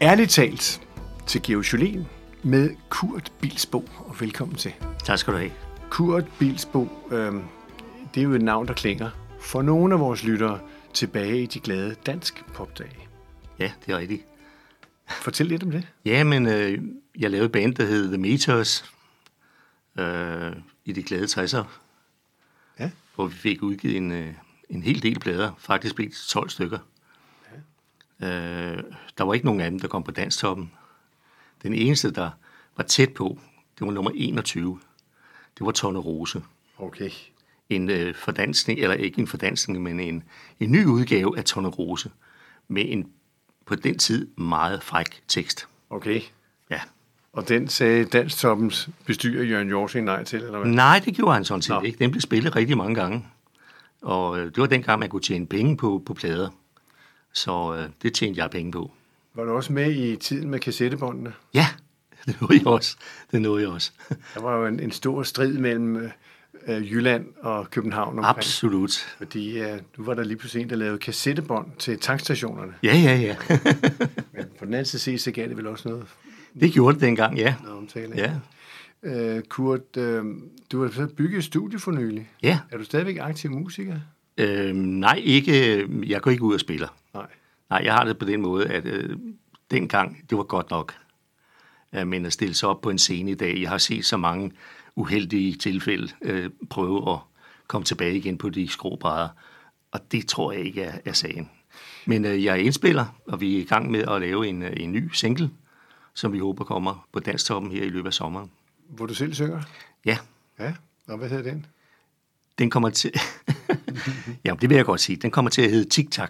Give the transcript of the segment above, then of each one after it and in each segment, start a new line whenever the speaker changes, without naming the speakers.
Ærligt talt til Georg Jolien med Kurt Bilsbo, og velkommen til.
Tak skal du have.
Kurt Bilsbo, øh, det er jo et navn, der klinger for nogle af vores lyttere tilbage i de glade dansk popdage.
Ja, det er rigtigt.
Fortæl lidt om det.
Ja, men øh, jeg lavede et band, der hed The Meters øh, i de glade 60'er,
Ja.
hvor vi fik udgivet en, øh, en hel del plader. Faktisk blev det 12 stykker. Øh, der var ikke nogen af dem, der kom på danstoppen. Den eneste, der var tæt på, det var nummer 21. Det var Tone Rose.
Okay.
en øh, fordansning, eller ikke en fordansning, men en, en ny udgave af Tone Rose, med en på den tid meget fræk tekst.
Okay.
Ja.
Og den sagde Danstoppens bestyrer Jørgen Jorsing nej til, eller hvad?
Nej, det gjorde han sådan set
Nå.
ikke. Den blev spillet rigtig mange gange. Og øh, det var dengang, man kunne tjene penge på, på plader. Så øh, det tjente jeg penge på.
Var du også med i tiden med kassettebåndene?
Ja, det nåede jeg også. Det nåede jeg også.
Der var jo en, en stor strid mellem øh, øh, Jylland og København omkring.
Absolut.
Fordi øh, nu var der lige pludselig en, der lavede kassettebånd til tankstationerne.
Ja, ja, ja.
Men på den anden side, så gav det vel også noget,
Det gjorde det dengang, ja.
noget omtale.
Ja,
Øh, Kurt, øh, du har så bygget et studie for nylig.
ja.
Er du stadigvæk aktiv musiker?
Øh, nej, ikke. øh, Jeg går ikke ud og spiller.
Nej.
Nej, jeg har det på den måde, at øh, dengang, det var godt nok. Øh, men at stille sig op på en scene i dag, jeg har set så mange uheldige tilfælde øh, prøve at komme tilbage igen på de skråbrædder, og det tror jeg ikke er, er sagen. Men øh, jeg er indspiller, og vi er i gang med at lave en, øh, en ny single, som vi håber kommer på Danstoppen her i løbet af sommeren.
Hvor du selv synger?
Ja,
Ja. Og hvad hedder den?
den kommer til... Jamen, det vil jeg godt sige. Den kommer til at hedde Tic Tac.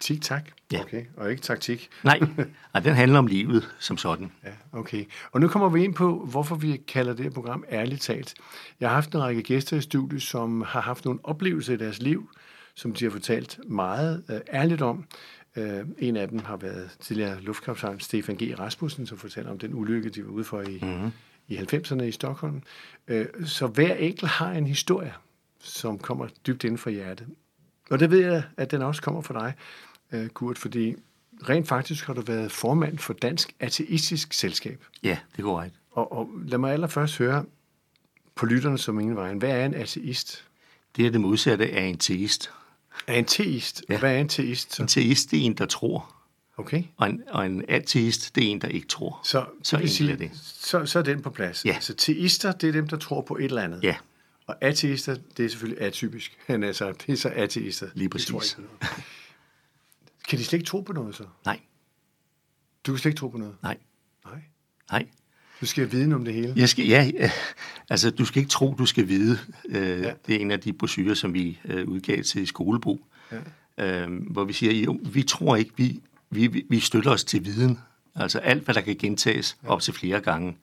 Tik tak.
Ja.
Okay. Og ikke taktik.
Nej, nej, den handler om livet som sådan.
Ja, okay. Og nu kommer vi ind på, hvorfor vi kalder det her program Ærligt talt. Jeg har haft en række gæster i studiet, som har haft nogle oplevelser i deres liv, som de har fortalt meget øh, ærligt om. Øh, en af dem har været tidligere luftkaptajn Stefan G. Rasmussen, som fortæller om den ulykke, de var ude for i, mm-hmm. i 90'erne i Stockholm. Øh, så hver enkelt har en historie, som kommer dybt inden for hjertet. Og det ved jeg, at den også kommer fra dig, øh, Kurt, fordi rent faktisk har du været formand for Dansk Ateistisk Selskab.
Ja, det går rigtigt.
Og, og lad mig allerførst høre på lytterne som ingen vejen. Hvad er en ateist?
Det er det modsatte af en teist.
Er en teist? Ja.
Ja.
Hvad er en teist?
En
Så?
teist, det er en, der tror,
Okay.
og en, og en ateist, det er en, der ikke tror.
Så,
Så
det vil
enkelt er det.
Så, så er den på plads.
Ja.
Så teister, det er dem, der tror på et eller andet.
Ja,
Og ateister, det er selvfølgelig atypisk. Men altså, det er så ateister.
Lige
De tror
præcis.
ikke på noget. Kan de slet ikke tro på noget så?
nej,
Du kan slet ikke tro på noget?
nej,
Nej.
nej.
Du skal have viden om det hele.
Jeg skal, ja, øh, altså, du skal ikke tro, du skal vide. Øh, Det er en af de brochurer, som vi øh, udgav til Skolebo, ja. øh, hvor vi siger, jo, vi tror ikke, vi, vi, vi- vi støtter os til viden. Altså alt, hvad der kan gentages ja. op til flere gange,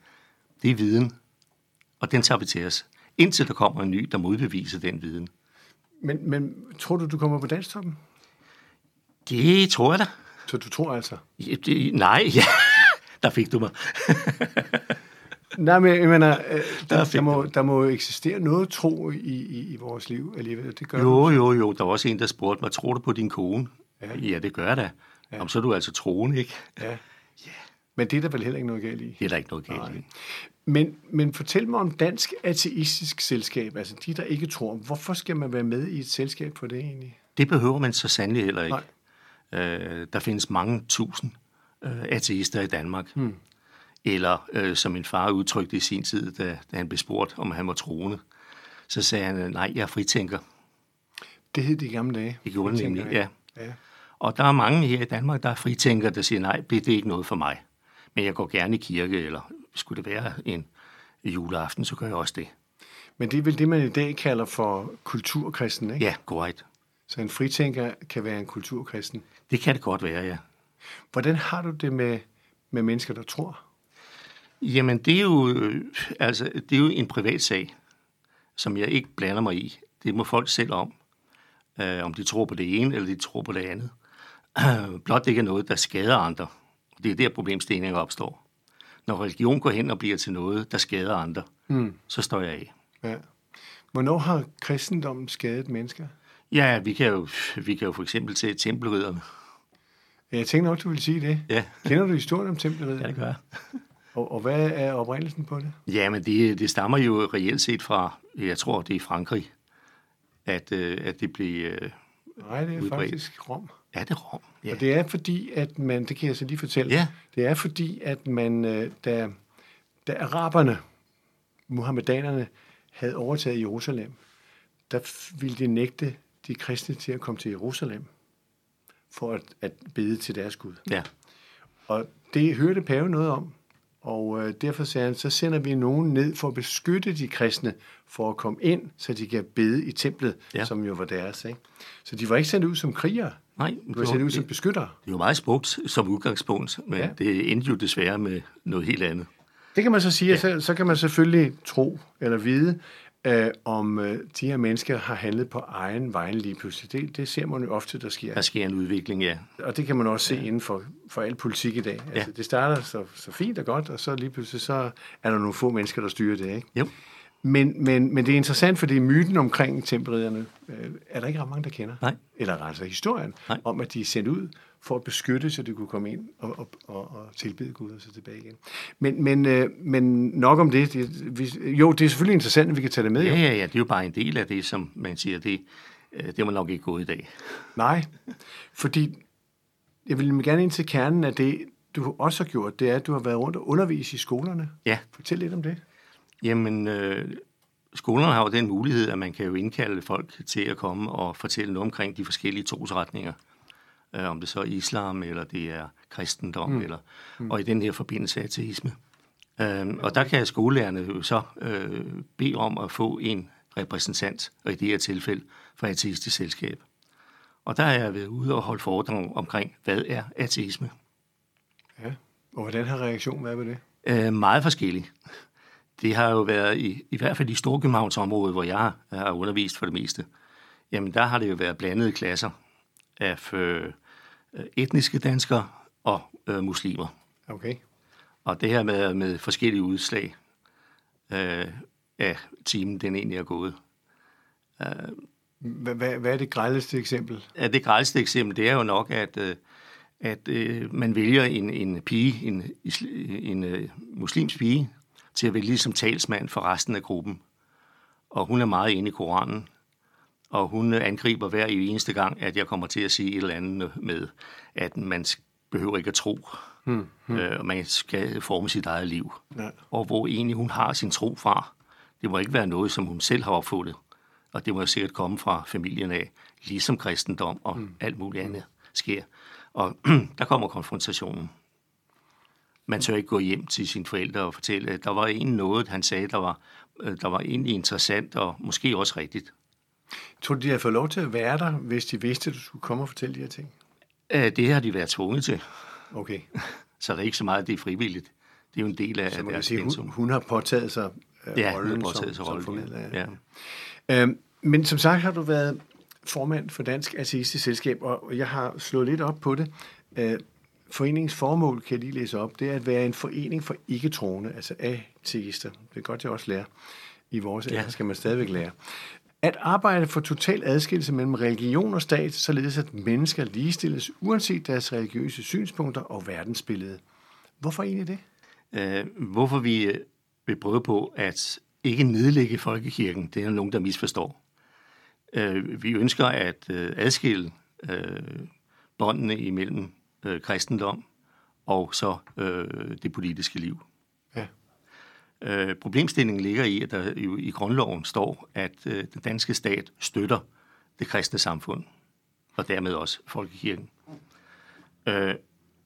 det er viden, og den tager vi til os, indtil der kommer en ny, der modbeviser den viden.
Men, men tror du, du kommer på danstoppen?
Det tror jeg da.
Så du tror altså?
Ja, det, nej, ja. Der fik du mig.
Nej, men jeg mener, øh, der,
Der
der,
fik
må, der må jo eksistere noget tro i, i, i vores liv alligevel. Det gør det.
Jo, jo, jo. Der var også en, der spurgte mig, tror du på din kone? Ja, ja det gør jeg da. Ja. Jamen, så er du altså troende, ikke?
Ja. Men det er der vel heller ikke noget galt i.
Det er der ikke noget galt i.
Men, men fortæl mig om Dansk Ateistisk Selskab, altså de, der ikke tror. Hvorfor skal man være med i et selskab for det egentlig?
Det behøver man så sandelig heller ikke. Øh, der findes mange tusind øh, ateister i Danmark. Hmm. Eller, øh, som min far udtrykte i sin tid, da, da han blev spurgt, om han var troende, så sagde han, øh, nej, jeg er fritænker.
Det hed de gamle dage.
Det gjorde han nemlig, ja.
ja.
Og der er mange her i Danmark, der er fritænkere, der siger, nej, det det er ikke noget for mig. Men jeg går gerne i kirke, eller skulle det være en juleaften, så gør jeg også det.
Men det er vel det, man i dag kalder for kulturkristen, ikke?
Ja, korrekt.
Så en fritænker kan være en kulturkristen.
Det kan det godt være, ja.
Hvordan har du det med, med mennesker, der tror?
Jamen, det er jo, øh, altså, det er jo en privat sag, som jeg ikke blander mig i. Det må folk selv om, øh, om de tror på det ene, eller de tror på det andet. Blot det ikke er noget, der skader andre. Det er der problemstillinger opstår. Når religion går hen og bliver til noget, der skader andre, mm. så står jeg af.
Ja. Hvornår har kristendommen skadet mennesker?
Ja, vi kan jo, vi kan jo for eksempel se tempelridderne.
Men jeg tænkte nok, du ville sige det.
Ja.
Kender du historien om tempelridderne?
Ja, det gør jeg.
Og, og hvad er oprindelsen på det?
Ja, men det, det stammer jo reelt set fra, jeg tror, det er Frankrig, at, øh, at det blev... Øh,
Nej, det er
Udbredt.
faktisk Rom.
er det Rom? Ja.
Og det er fordi, at man, det kan jeg så lige fortælle,
Ja.
det er fordi, at man, øh, da, da araberne, muhammedanerne, havde overtaget Jerusalem, der f- ville de nægte de kristne til at komme til Jerusalem for at, at bede til deres Gud.
ja.
Og det hørte paven noget om, og øh, derfor sagde han, så sender vi nogen ned for at beskytte de kristne, for at komme ind, så de kan bede i templet, ja.
Ja.
som jo var deres. Ikke? Så de var ikke sendt ud som krigere,
Nej,
de var sendt ud som beskyttere.
Det er jo meget smukt som udgangspunkt, men
Ja.
ja. det endte jo desværre med noget helt andet.
Det kan man så sige, ja. så, så kan man selvfølgelig tro eller vide, øh, om øh, de her mennesker har handlet på egen vej lige pludselig. Det, det ser man jo ofte, der sker.
Der sker en udvikling, Altså, ja.
Og det kan man også se inden for, for al politik i dag. Altså, Det starter så, så fint og godt, og så lige pludselig så er der nogle få mennesker, der styrer det. Ikke?
Jo.
Men, men, men det er interessant, fordi myten omkring tempelridderne øh, er der ikke ret mange, der kender.
Nej.
Eller altså historien
Nej.
om, at de er sendt ud for at beskytte, så de kunne komme ind og, og, og, og tilbede Gud og så tilbage igen. Men, men, øh, men nok om det. det vi, jo, det er selvfølgelig interessant, at vi kan tage det med.
Ja,
Jo.
ja, ja, det er jo bare en del af det, som man siger, det, øh, det var nok ikke gået i dag.
Nej, fordi jeg vil gerne ind til kernen af det, du også har gjort, det er, at du har været rundt og undervist i skolerne.
Ja,
Fortæl lidt om det.
Jamen, øh, skolerne har jo den mulighed, at man kan jo indkalde folk til at komme og fortælle noget omkring de forskellige trosretninger. Øh, om det så er islam, eller det er kristendom, mm. eller og i den her forbindelse ateisme. Øh, og der kan skolelærerne jo så øh, bede om at få en repræsentant, og i det her tilfælde fra ateistisk selskab. Og der har jeg været ude og holde foredrag omkring, hvad er ateisme?
Ja. Og hvordan har reaktionen været på det?
Øh, meget forskellige. Det har jo været, i, i hvert fald i Storkøbenhavnsområdet, hvor jeg har undervist for det meste, jamen der har det jo været blandede klasser af øh, øh, etniske danskere og øh, muslimer.
Okay.
Og det her med, med forskellige udslag øh, af timen, den egentlig er gået.
Hvad, hvad, hvad er det grældeste eksempel?
Ja, det grælste eksempel, det er jo nok, at, øh, at øh, man vælger en, en pige, en, isl- en øh, muslims pige, til at vælge ligesom talsmand for resten af gruppen. Og hun er meget inde i Koranen, og hun øh, angriber hver eneste gang, at jeg kommer til at sige et eller andet med, at man sk- behøver ikke at tro, hmm, hmm. Øh, og man skal forme sit eget liv.
Nej.
Og hvor egentlig hun har sin tro fra. Det må ikke være noget, som hun selv har opfundet. Og det må jo sikkert komme fra familien af, ligesom kristendom og mm. alt muligt andet sker. Og der kommer konfrontationen. Man tør ikke gå hjem til sine forældre og fortælle, at der var egentlig noget, han sagde, der var, øh, der var egentlig interessant og måske også rigtigt.
Tror du, de havde fået lov til at være der, hvis de vidste, at du skulle komme og fortælle de her ting?
Øh, Det har de været tvunget til,
Okay.
så det er ikke så meget, at det er frivilligt. Det er jo en del af
Så man kan
deres
sige, hun,
pensum.
hun har påtaget sig øh,
Ja,
rollen
hun har
som, øh,
påtaget sig
som
rollen.
formidler.
Ja.
Øhm, men som sagt har du været formand for Dansk Ateistisk Selskab, og og jeg har slået lidt op på det. Øh, foreningens formål, kan jeg lige læse op, det er at være en forening for ikke-troende, altså ateister. Det er godt, jeg også lærer. I vores alder skal man stadigvæk lære. At arbejde for total adskillelse mellem religion og stat, således at mennesker ligestilles uanset deres religiøse synspunkter og verdensbillede. Hvorfor egentlig det?
Øh, hvorfor vi øh, vil prøve på at ikke nedlægge folkekirken, det er der nogen, der misforstår. Øh, vi ønsker at øh, adskille øh, båndene imellem øh, kristendom og så øh, det politiske liv.
Ja.
Øh, problemstillingen ligger i, at der jo i grundloven står, at øh, den danske stat støtter det kristne samfund, og dermed også folkekirken. Øh,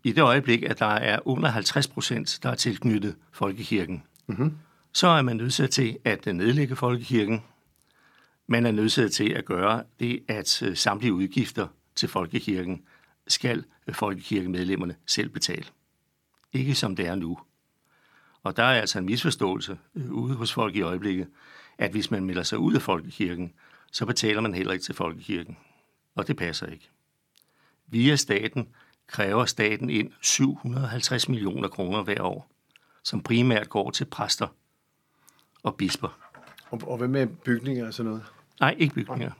I det øjeblik, at der er under 50 procent, der er tilknyttet folkekirken, mm-hmm. så er man nødsaget til at øh, nedlægge folkekirken. Man er nødsaget til at gøre det, at øh, samtlige udgifter til folkekirken skal øh, folkekirkemedlemmerne selv betale. Ikke som det er nu. Og der er altså en misforståelse øh, ude hos folk i øjeblikket, at hvis man melder sig ud af folkekirken, så betaler man heller ikke til folkekirken. Og det passer ikke. Via staten kræver staten ind 750 millioner kroner hver år, som primært går til præster og bisper.
Og, og hvad med bygninger og sådan noget?
Nej, ikke bygninger.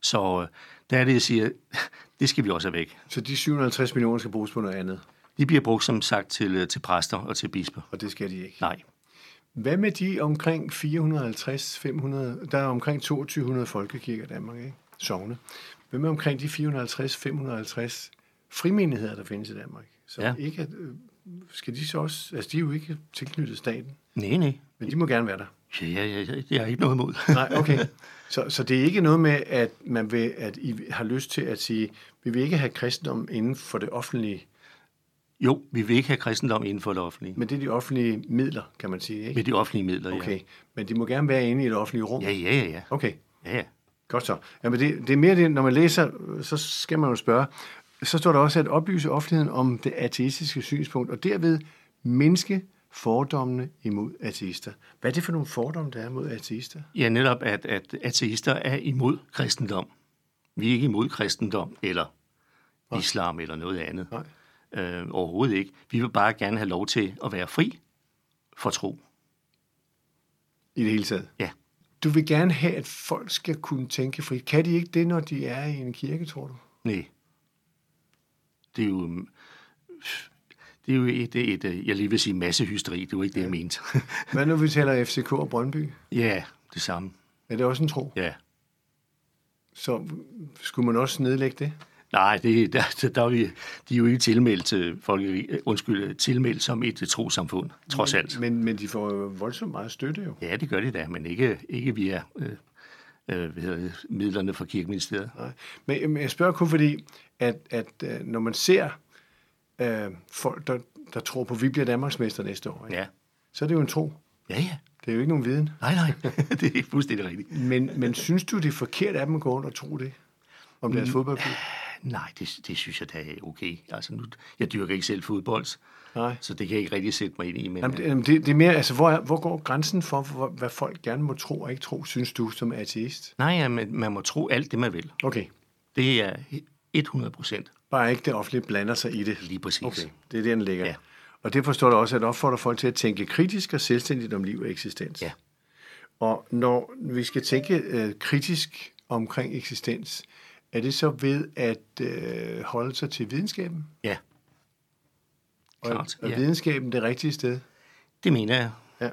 Så øh, der er det, jeg siger, det skal vi også have væk.
Så de 750 millioner skal bruges på noget andet,
De bliver brugt, som sagt, til, øh, til præster og til bisper.
og det skal de ikke.
Nej.
Hvad med de omkring 450-500, der er omkring 2200 folkekirker i Danmark, ikke? Sogne. Hvad med omkring de 450-550 frimenigheder, der findes i Danmark? Så ja.
Ja.
ikke, at, øh, skal de så også, altså de er jo ikke tilknyttet staten,
Nej, nej.
men de må gerne være der.
Ja, ja, ja, ja, jeg har ikke noget imod.
Nej, okay. Så, så det er ikke noget med, at man vil, at I har lyst til at sige, vi vil ikke have kristendom inden for det offentlige,
Jo, vi vil ikke have kristendom inden for det offentlige.
men det er de offentlige midler, kan man sige, ikke?
Med de offentlige midler,
Okay, men de må gerne være inde i det offentlige rum.
ja. Ja, ja, ja, ja.
Okay,
ja, ja.
Godt så. Jamen det, det er mere det, når man læser, øh, så skal man jo spørge. Så står der også at oplyse offentligheden om det ateistiske synspunkt, og derved mindske fordommene imod ateister. Hvad er det for nogle fordomme, der er mod ateister?
Ja, netop, at, at ateister er imod kristendom. Vi er ikke imod kristendom, eller islam, eller noget andet.
Nej.
Øh, overhovedet ikke. Vi vil bare gerne have lov til at være fri for tro.
I det hele taget.
Ja.
Du vil gerne have, at folk skal kunne tænke frit. Kan de ikke det, når de er i en kirke, tror du?
Nej. Det er jo... mm, Det er jo et, et, et jeg lige vil sige massehysteri, det var ikke det, jeg mente.
Hvad nu, vi taler FCK og Brøndby?
ja, det samme.
Er det også en tro?
Ja.
Så skulle man også nedlægge det?
Nej, det, der, der, der er vi, de er jo ikke tilmeldt, til folke, undskyld, øh, tilmeldt som et trosamfund,
Mm.
trods alt.
Men, men de får jo voldsomt meget støtte jo.
Ja, det gør de da, men ikke, ikke via øh, øh, hvad hedder det, midlerne fra kirkeministeriet.
Nej. Men men jeg spørger kun fordi, at, at øh, når man ser øh, folk, der, der tror på, at vi bliver Danmarksmester næste år, ikke?
Ja,
så er det jo en tro.
ja, ja.
Det er jo ikke nogen viden.
Nej, nej, det er fuldstændig rigtigt.
Men, men synes du, det er forkert af dem at gå rundt og tro det? Om deres fodboldklub?
Nej, det, det synes jeg da er okay. Altså, nu, jeg dyrker ikke selv fodbold,
Nej.
så det kan jeg ikke rigtig sætte mig ind i. Men,
Jamen, det, jamen, det, det er mere, altså, hvor, er, hvor går grænsen for, hvor, hvad folk gerne må tro og ikke tro, synes du, som ateist?
Nej, ja, men man må tro alt det, man vil.
Okay,
Det er 100 procent
bare ikke det offentlige blander sig i det.
lige præcis.
Okay, det er det, den ligger. Ja.
Ja.
Og det forstår der også, at opfordrer folk til at tænke kritisk og selvstændigt om liv og eksistens.
Ja.
Og når vi skal tænke øh, kritisk omkring eksistens, er det så ved at øh, holde sig til videnskaben?
Ja,
Og,
Klart,
og
ja.
videnskaben det rigtige sted?
det mener jeg.
Ja.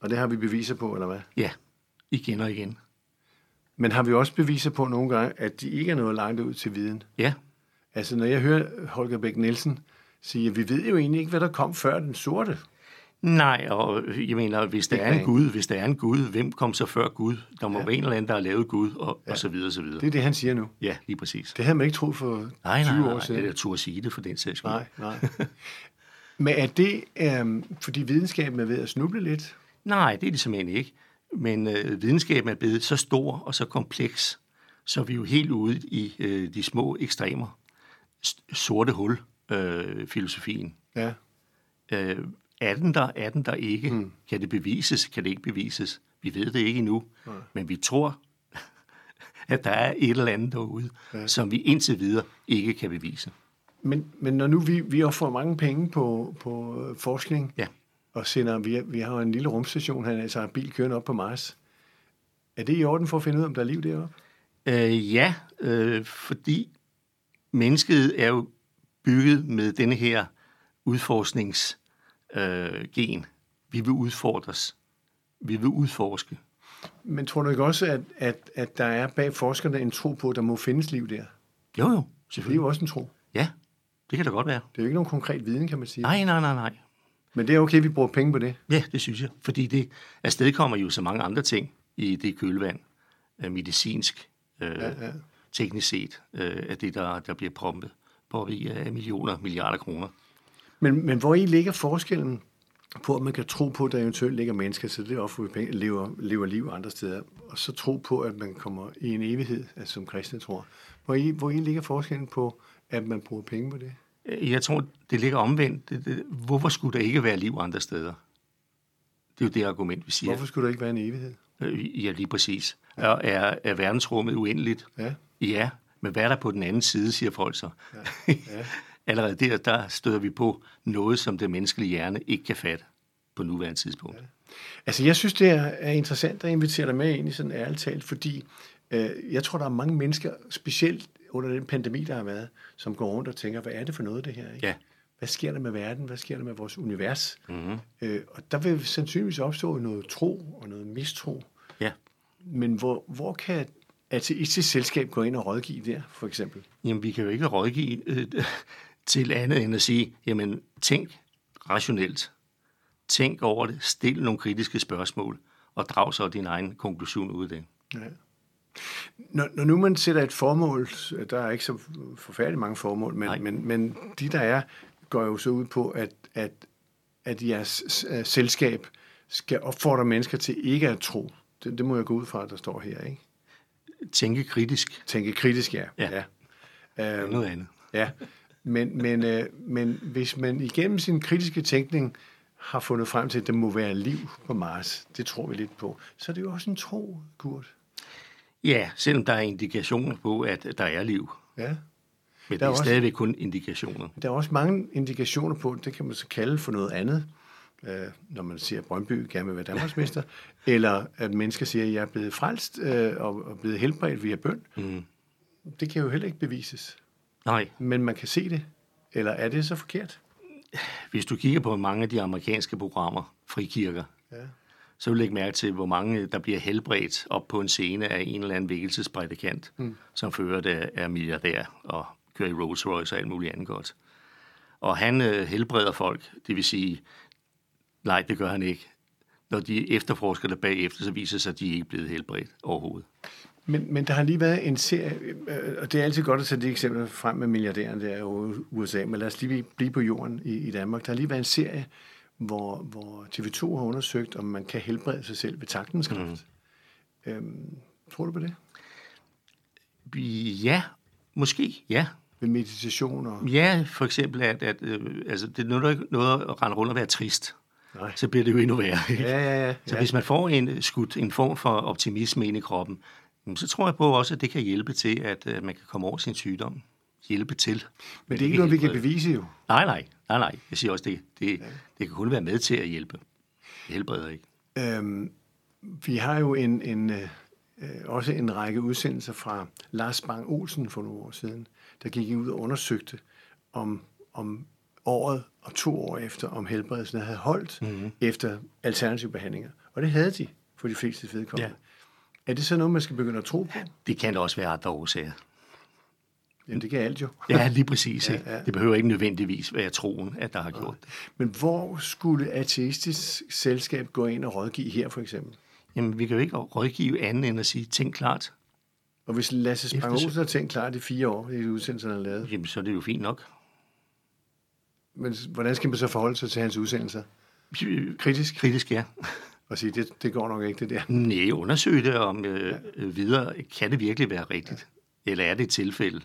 Og det har vi beviser på, eller hvad?
Ja, igen og igen.
Men har vi også beviser på nogle gange, at de ikke er noget langt ud til viden?
Ja,
Altså, når jeg hører Holger Bæk Nielsen sige, at vi ved jo egentlig ikke, hvad der kom før den sorte.
Nej, og jeg mener, hvis der
Big
er en
Bang.
Gud, hvis der er en Gud, hvem kom så før Gud? Der må ja. være en eller anden, der har lavet Gud, og, ja. og så videre, så videre.
Det er det, han siger nu.
Ja, lige præcis.
Det havde man ikke troet for
Nej, nej,
20
nej,
år
nej.
siden.
eller turde sige det for den sags skyld.
Nej, nej. Men er det, øhm, fordi videnskaben er ved at snuble lidt?
nej, det er det simpelthen ikke. Men øh, videnskaben er blevet så stor og så kompleks, så vi er jo helt ude i øh, de små ekstremer. S- sorte hul, øh, filosofien.
Ja.
Øh, er den der, er den der ikke? Mm. Kan det bevises, kan det ikke bevises? Vi ved det ikke endnu, Nej. men vi tror, at der er et eller andet derude, ja. som vi indtil videre ikke kan bevise.
Men, men når nu vi, vi får mange penge på, på øh, forskning,
Ja.
og sender, vi, vi har jo en lille rumstation, han altså har en bil kørende op på Mars. Er det i orden for at finde ud af, om der er liv deroppe?
Øh, ja, øh, fordi mennesket er jo bygget med denne her udforskningsgen. Øh, gen. vi vil udfordres. Vi vil udforske.
Men tror du ikke også, at, at, at der er bag forskerne en tro på, at der må findes liv der?
Jo, jo,
Det er
selvfølgelig.
jo også en tro.
Ja, det kan da godt være.
Det er jo ikke nogen konkret viden, kan man sige.
Nej, nej, nej, nej.
Men det er okay, vi bruger penge på det.
Ja, det synes jeg. Fordi det afstedkommer jo så mange andre ting i det kølvand. Øh, Medicinsk, øh, ja, ja. teknisk set, øh, af det, der, der bliver proppet på i øh, af millioner, milliarder kroner.
Men, men hvor i ligger forskellen på, at man kan tro på, at der eventuelt ligger mennesker, så det offer vi penge, lever, lever liv andre steder, og så tro på, at man kommer i en evighed, altså som kristne tror. Hvor i, hvor i ligger forskellen på, at man bruger penge på det?
Øh, Jeg tror, det ligger omvendt. Det, det, hvorfor skulle der ikke være liv andre steder? Det er jo det argument, vi siger.
Hvorfor skulle der ikke være en evighed?
Øh, Ja, lige præcis. Er, er, er verdensrummet uendeligt?
Ja.
Ja, men hvad er der på den anden side, siger folk så. Ja. Ja. Allerede der, der støder vi på noget, som den menneskelige hjerne ikke kan fatte på nuværende tidspunkt. Ja.
Altså, jeg synes, det er er interessant at invitere dig med ind i sådan ærligt talt, fordi Øh, Jeg tror, der er mange mennesker, specielt under den pandemi, der har været, som går rundt og tænker, hvad er det for noget, det her? Ikke?
Ja.
Hvad sker der med verden? Hvad sker der med vores univers?
Mhm.
Mm-hmm. Øh, og der vil sandsynligvis opstå noget tro og noget mistro.
Ja.
Men hvor, hvor kan et ateistisk selskab gå ind og rådgive der, for eksempel?
Jamen, vi kan jo ikke rådgive øh, til andet end at sige, jamen, tænk rationelt. Tænk over det, stil nogle kritiske spørgsmål, og drag så din egen konklusion ud af det.
Ja. Når, når nu man sætter et formål, der er ikke så forfærdeligt mange formål,
Nej.
men, men, men de der er, går jo så ud på, at, at, at jeres s- øh, selskab skal opfordre mennesker til ikke at tro. Det, det må jeg gå ud fra, at der står her, ikke?
Tænke kritisk,
Tænke kritisk, ja.
Ja.
ja.
det er
Øhm,
noget andet.
Ja, men, men, øh, men hvis man igennem sin kritiske tænkning har fundet frem til, at der må være liv på Mars, det tror vi lidt på, så er det jo også en tro, Kurt.
Ja, selvom der er indikationer på, at der er liv,
Ja.
men
Der
der
er
det er
også-
stadigvæk kun indikationer.
Der er også mange indikationer på, det kan man så kalde for noget andet, øh, når man siger, at Brøndby gerne vil være Danmarksmester, eller at mennesker siger, at jeg er blevet frelst øh, og, og blevet helbredt via bøn.
Mm.
Det kan jo heller ikke bevises,
Nej,
men man kan se det. Eller er det så forkert?
hvis du kigger på mange af de amerikanske programmer, frikirker,
Ja.
så vil du lægge mærke til, hvor mange der bliver helbredt op på en scene af en eller anden vækkelsesprædikant, mm. som fører det er milliardær og kører i Rolls Royce og alt muligt andet godt. Og han øh, helbreder folk, det vil sige, nej, det gør han ikke. Når de efterforsker det bagefter, så viser det sig, at de ikke er blevet helbredt overhovedet.
Men, men der har lige været en serie, øh, og det er altid godt at sætte de eksempler frem med milliardæren der i USA, men lad os lige blive på jorden i, i Danmark. Der har lige været en serie, hvor, hvor TV2 har undersøgt, om man kan helbrede sig selv ved taktens kraft. Mm. Øhm, tror du på det?
Ja, måske, ja.
Ved meditation og...
Ja, for eksempel, at, at øh, altså, det nytter ikke noget at rende rundt og være trist.
Nej.
Så bliver det jo endnu værre. Ikke?
Ja, ja, ja.
Så
ja.
hvis man får en skudt en form for optimisme ind i kroppen, jamen, så tror jeg på også, at det kan hjælpe til, at øh, man kan komme over sin sygdom. Hjælpe til.
Men det er ikke noget, vi kan
helbrede.
bevise jo.
Nej, nej, nej, nej. Jeg siger også, det, det, det kan kun være med til at hjælpe. Det helbreder ikke.
Øhm, vi har jo en, en, øh, øh, også en række udsendelser fra Lars Bang Olsen for nogle år siden, der gik ud og undersøgte, om, om året og to år efter, om helbredelsen havde holdt mm-hmm. efter alternative behandlinger. Og det havde de for de fleste vedkommende. Ja. Er det så noget, man skal begynde at tro på?
Det kan der også være andre årsager.
Jamen, det kan alt jo.
Ja, lige præcis. Ikke? Det behøver ikke nødvendigvis være troen, at der har gjort det.
Men hvor skulle ateistisk selskab gå ind og rådgive her, for eksempel?
Jamen, vi kan jo ikke rådgive andet end at sige, tænk klart.
Og hvis Lasse Spang
Eftersøg-
Olsen har tænkt klart i fire år, i de udsendelser, han har lavet,
Jamen, så er det jo fint nok.
Men hvordan skal man så forholde sig til hans udsendelser? Kritisk?
Kritisk, ja.
Og sige, det, det går nok ikke, det der.
Nej, undersøg det om øh, øh, videre. Kan det virkelig være rigtigt? Ja. Eller er det et tilfælde?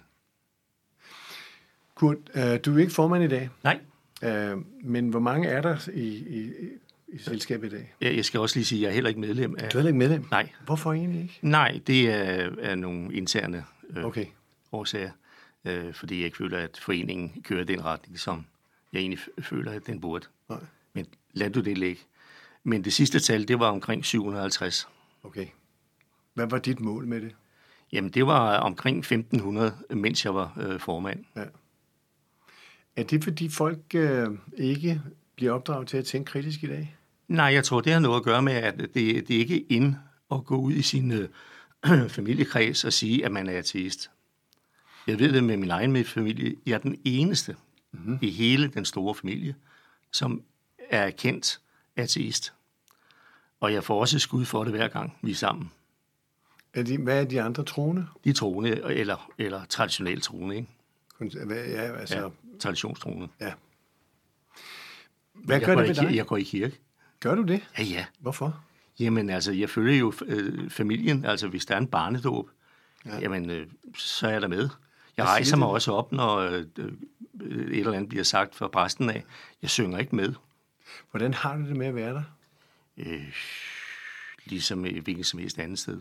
Kurt, øh, du er ikke formand i dag,
Nej.
øh, men hvor mange er der i, i, i- i selskabet i dag?
Jeg jeg skal også lige sige, at jeg er heller ikke medlem af...
Du er heller ikke medlem?
Nej.
Hvorfor egentlig ikke?
Nej, det er, er nogle interne øh,
Okay.
årsager, øh, fordi jeg ikke føler, at foreningen kører i den retning, som jeg egentlig f- føler, at den burde.
Nej.
Men lad du det ligge. Men det sidste tal, det var omkring 750.
Okay. Hvad var dit mål med det?
Jamen, det var omkring 1500, mens jeg var øh, formand.
Ja. Er det, fordi folk øh, ikke bliver opdraget til at tænke kritisk i dag?
Nej, jeg tror, det har noget at gøre med, at det, det er ikke ind at gå ud i sin øh, familiekreds og sige, at man er ateist. Jeg ved det med min egen med familie. Jeg er den eneste
Mhm.
mm-hmm. i hele den store familie, som er kendt ateist. Og jeg får også et skud for det hver gang, vi er sammen.
Er de, hvad er de andre troende?
De er troende, eller, eller traditionelt troende, ikke?
Kun- Hvad, ja, altså,
Ja,
ja.
traditionstroende.
ja. Hvad
Jeg
gør
går,
det ved
i kir-
dig?
jeg går i kirke.
Gør du det?
Ja, ja.
Hvorfor?
Jamen altså, jeg følger jo øh, familien, altså hvis der er en barnedåb, ja. jamen øh, så er jeg der med. Jeg
siger
rejser
det?
mig også op, når øh, øh, et eller andet bliver sagt fra præsten af. Jeg synger ikke med,
Hvordan har du det med at være der?
øh, ligesom øh, hvilken som helst andet sted.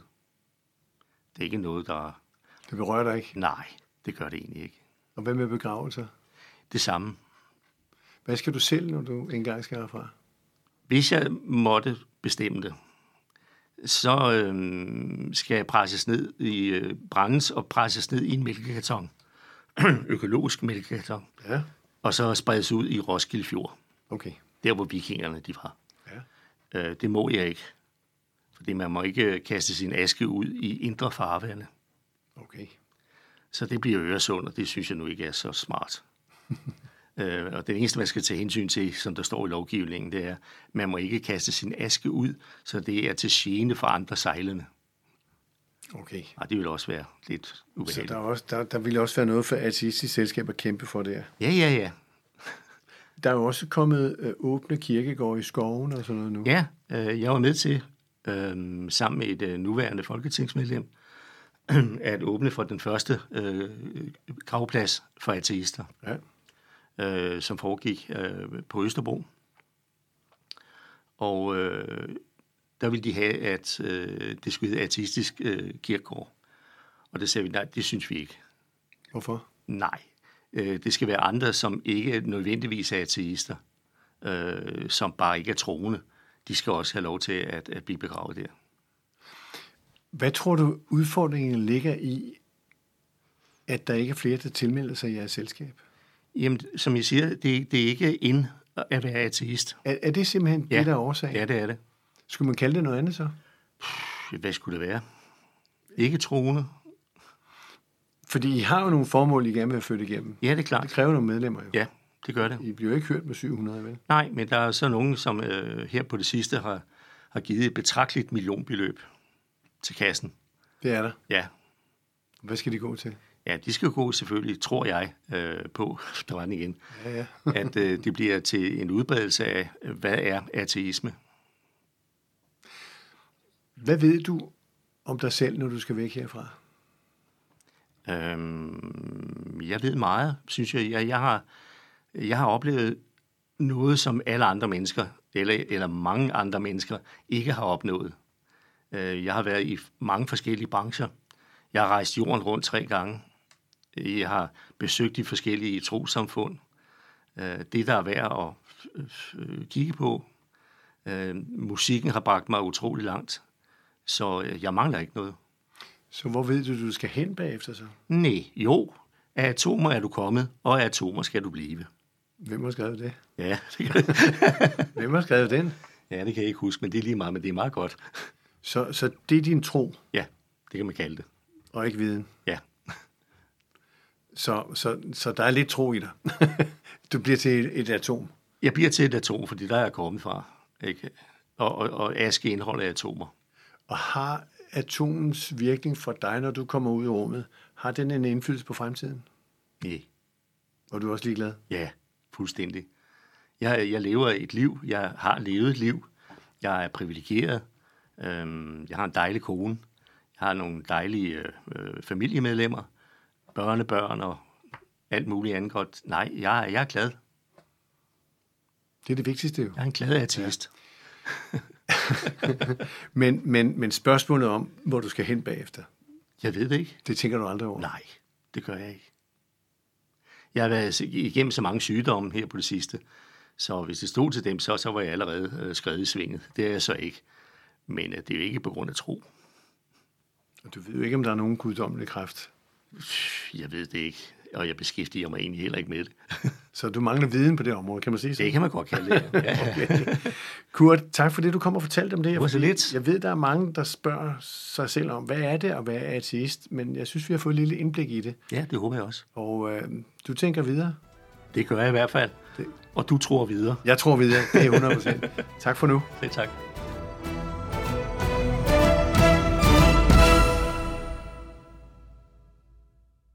Det er ikke noget, der...
Det berører dig ikke?
Nej, det gør det egentlig ikke.
Og hvad med begravelser?
Det samme.
Hvad skal du selv, når du engang skal herfra?
Hvis jeg måtte bestemme det, så øh, skal jeg presses ned i øh, brændes og presses ned i en mælkekarton. Økologisk mælkekarton.
Ja,
Og så spredes ud i Roskilde Fjord,
okay.
der hvor vikingerne de var.
Ja.
Øh, det må jeg ikke. Fordi man må ikke øh, kaste sin aske ud i indre farvande.
Okay.
Så det bliver Øresund, og det synes jeg nu ikke er så smart. øh, og det eneste, man skal tage hensyn til, som der står i lovgivningen, det er, at man må ikke kaste sin aske ud, så det er til gene for andre sejlende.
Okay.
Og det vil også være lidt
Så
ubehageligt.
der, er også, der, der ville også være noget for ateistisk selskab at kæmpe for der.
Ja, ja, ja.
Der er jo også kommet øh, åbne kirkegårde i skoven og sådan noget nu.
Ja, øh, jeg var med til, øh, sammen med et øh, nuværende folketingsmedlem, at åbne for den første øh, gravplads for ateister.
ja.
øh, som foregik øh, på Østerbro. Og øh, der ville de have, at øh, det skulle hedde artistisk øh, kirkegård. Og der sagde vi, nej, det synes vi ikke.
Hvorfor?
Nej, øh, det skal være andre, som ikke nødvendigvis er ateister, øh, som bare ikke er troende. De skal også have lov til at, at blive begravet der.
Hvad tror du, udfordringen ligger i, at der ikke er flere, der tilmelder sig i jeres selskab?
Jamen, som jeg siger, det, det er ikke ind at være ateist.
Er, er det simpelthen ja. det, der er årsagen?
Ja, det er det.
Skulle man kalde det noget andet så?
Hvad skulle det være? Ikke troende?
Fordi I har jo nogle formål, I gerne vil have født igennem.
Ja, det er klart.
Det kræver nogle medlemmer jo.
Ja, det gør det.
I bliver jo ikke hørt med 700, vel?
Nej, men der er så nogen, som øh, her på det sidste har, har givet et betragteligt millionbeløb til kassen.
Det er der.
Ja,
Hvad skal de gå til?
ja de skal jo gå selvfølgelig, tror jeg, øh, på, der var den igen,
Ja, ja.
at øh, det bliver til en udbredelse af, øh, hvad er ateisme?
Hvad ved du om dig selv, når du skal væk herfra?
Øhm, jeg ved meget, synes jeg. Jeg, jeg, har, jeg har oplevet noget, som alle andre mennesker, eller, eller mange andre mennesker, ikke har opnået. Øh, jeg har været i mange forskellige brancher. Jeg har rejst jorden rundt tre gange. Jeg har besøgt de forskellige trosamfund. Øh, det, der er værd at øh, kigge på. Øh, musikken har bragt mig utrolig langt, så øh, jeg mangler ikke noget.
Så hvor ved du, du skal hen bagefter så?
Nej, jo. Af atomer er du kommet, og af atomer skal du blive.
Hvem har skrevet det?
Ja, det kan,
Hvem har skrevet den?
ja, det kan jeg ikke huske, men det er lige meget, men det er meget godt.
Så, så det er din tro,
Ja, det kan man kalde det.
og ikke viden.
Ja,
Så, så, så der er lidt tro i dig. du bliver til et, et atom.
jeg bliver til et atom, fordi der er jeg kommet fra. Ikke? Og, og, og aske indeholder atomer.
Og har atomens virkning for dig, når du kommer ud i rummet, har den en indflydelse på fremtiden?
Nej,
Og du er også ligeglad?
ja, fuldstændig. Jeg, jeg lever et liv, jeg har levet et liv. Jeg er privilegeret. Øhm, jeg har en dejlig kone. Jeg har nogle dejlige øh, øh, familiemedlemmer, børnebørn og alt muligt andet godt. Nej, jeg, er- jeg er glad.
Det er det vigtigste jo.
Jeg er en glad ateist. Ja.
Men, men, men spørgsmålet om, hvor du skal hen bagefter,
Jeg ved det ikke.
det tænker du aldrig over.
Nej, det gør jeg ikke. Jeg har været igennem så mange sygdomme her på det sidste, så hvis det stod til dem, så, så var jeg allerede øh, skrevet i svinget. Det er jeg så ikke. Men øh, det er jo ikke på grund af tro.
Og du ved jo ikke, om der er nogen guddommelig kraft.
Jeg ved det ikke, og jeg beskæftiger mig egentlig heller ikke med det.
Så du mangler viden på det område, kan man sige så?
Det kan man godt kalde det. Ja.
Kurt, tak for det, du kom og fortalte om det. her,
var så
fordi
lidt.
Jeg ved, der er mange, der spørger sig selv om, hvad er det at være ateist? Men jeg synes, vi har fået et lille indblik i det.
ja, det håber jeg også.
Og øh, du tænker videre.
Det gør jeg i hvert fald. Og du tror videre.
Jeg tror videre, det er 100%. tak for nu.
Selv tak.